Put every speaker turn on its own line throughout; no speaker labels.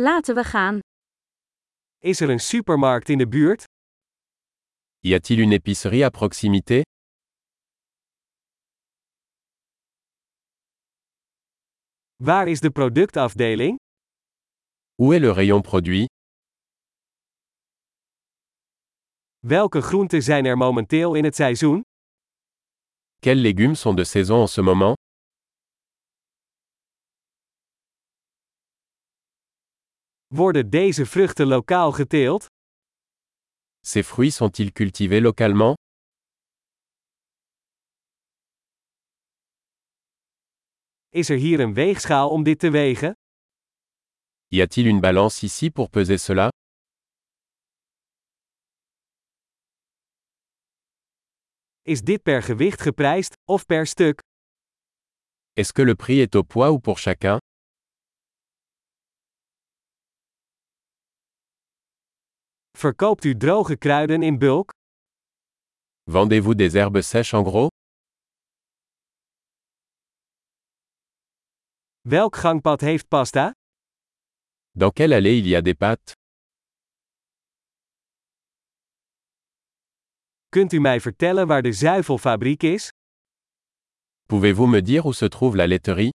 Laten we gaan.
Is er een supermarkt in de buurt?
Y a-t-il une épicerie à proximité
Waar is de productafdeling?
Où est le rayon produit
Welke groenten zijn er momenteel in het seizoen?
Quels légumes sont de saison en ce moment
Worden deze vruchten lokaal geteeld?
Ces fruits sont-ils cultivés localement
Is er hier een weegschaal om dit te wegen?
Y a-t-il une balance ici pour peser cela
Is dit per gewicht geprijsd of per stuk?
Est-ce que le prix est au poids ou pour chacun
Verkoopt u droge kruiden in bulk?
Vendez-vous des herbes sèches en gros
Welk gangpad heeft pasta?
Dans quelle allée il y a des pâtes
Kunt u mij vertellen waar de zuivelfabriek is?
Pouvez-vous me dire où se trouve la laiterie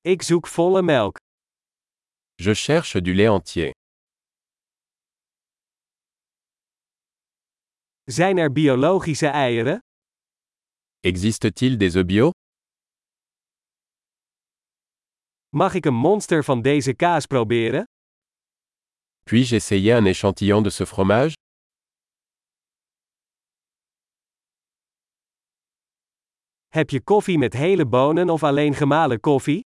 Ik zoek volle melk.
Je cherche du lait entier.
Zijn er biologische eieren?
Existe-t-il des œufs bio
Mag ik een monster van deze kaas proberen?
Puis-je essayer un échantillon de ce fromage
Heb je koffie met hele bonen of alleen gemalen koffie?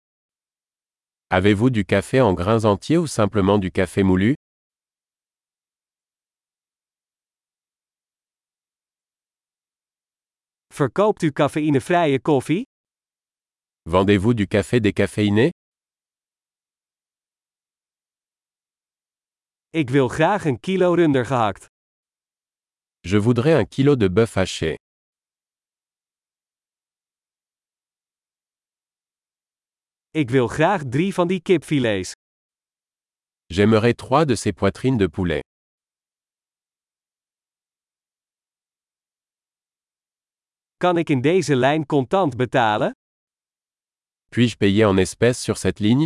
Avez-vous du café en grains entiers ou simplement du café moulu
Verkoopt u cafeïnevrije koffie?
Vendez-vous du café décaféiné
Ik wil graag een kilo runder gehakt.
Je voudrais un kilo de bœuf haché.
Ik wil graag drie van die kipfilets.
J'aimerais trois de ces poitrines de poulet.
Kan ik in deze lijn contant betalen?
Puis-je payer en espèces sur cette ligne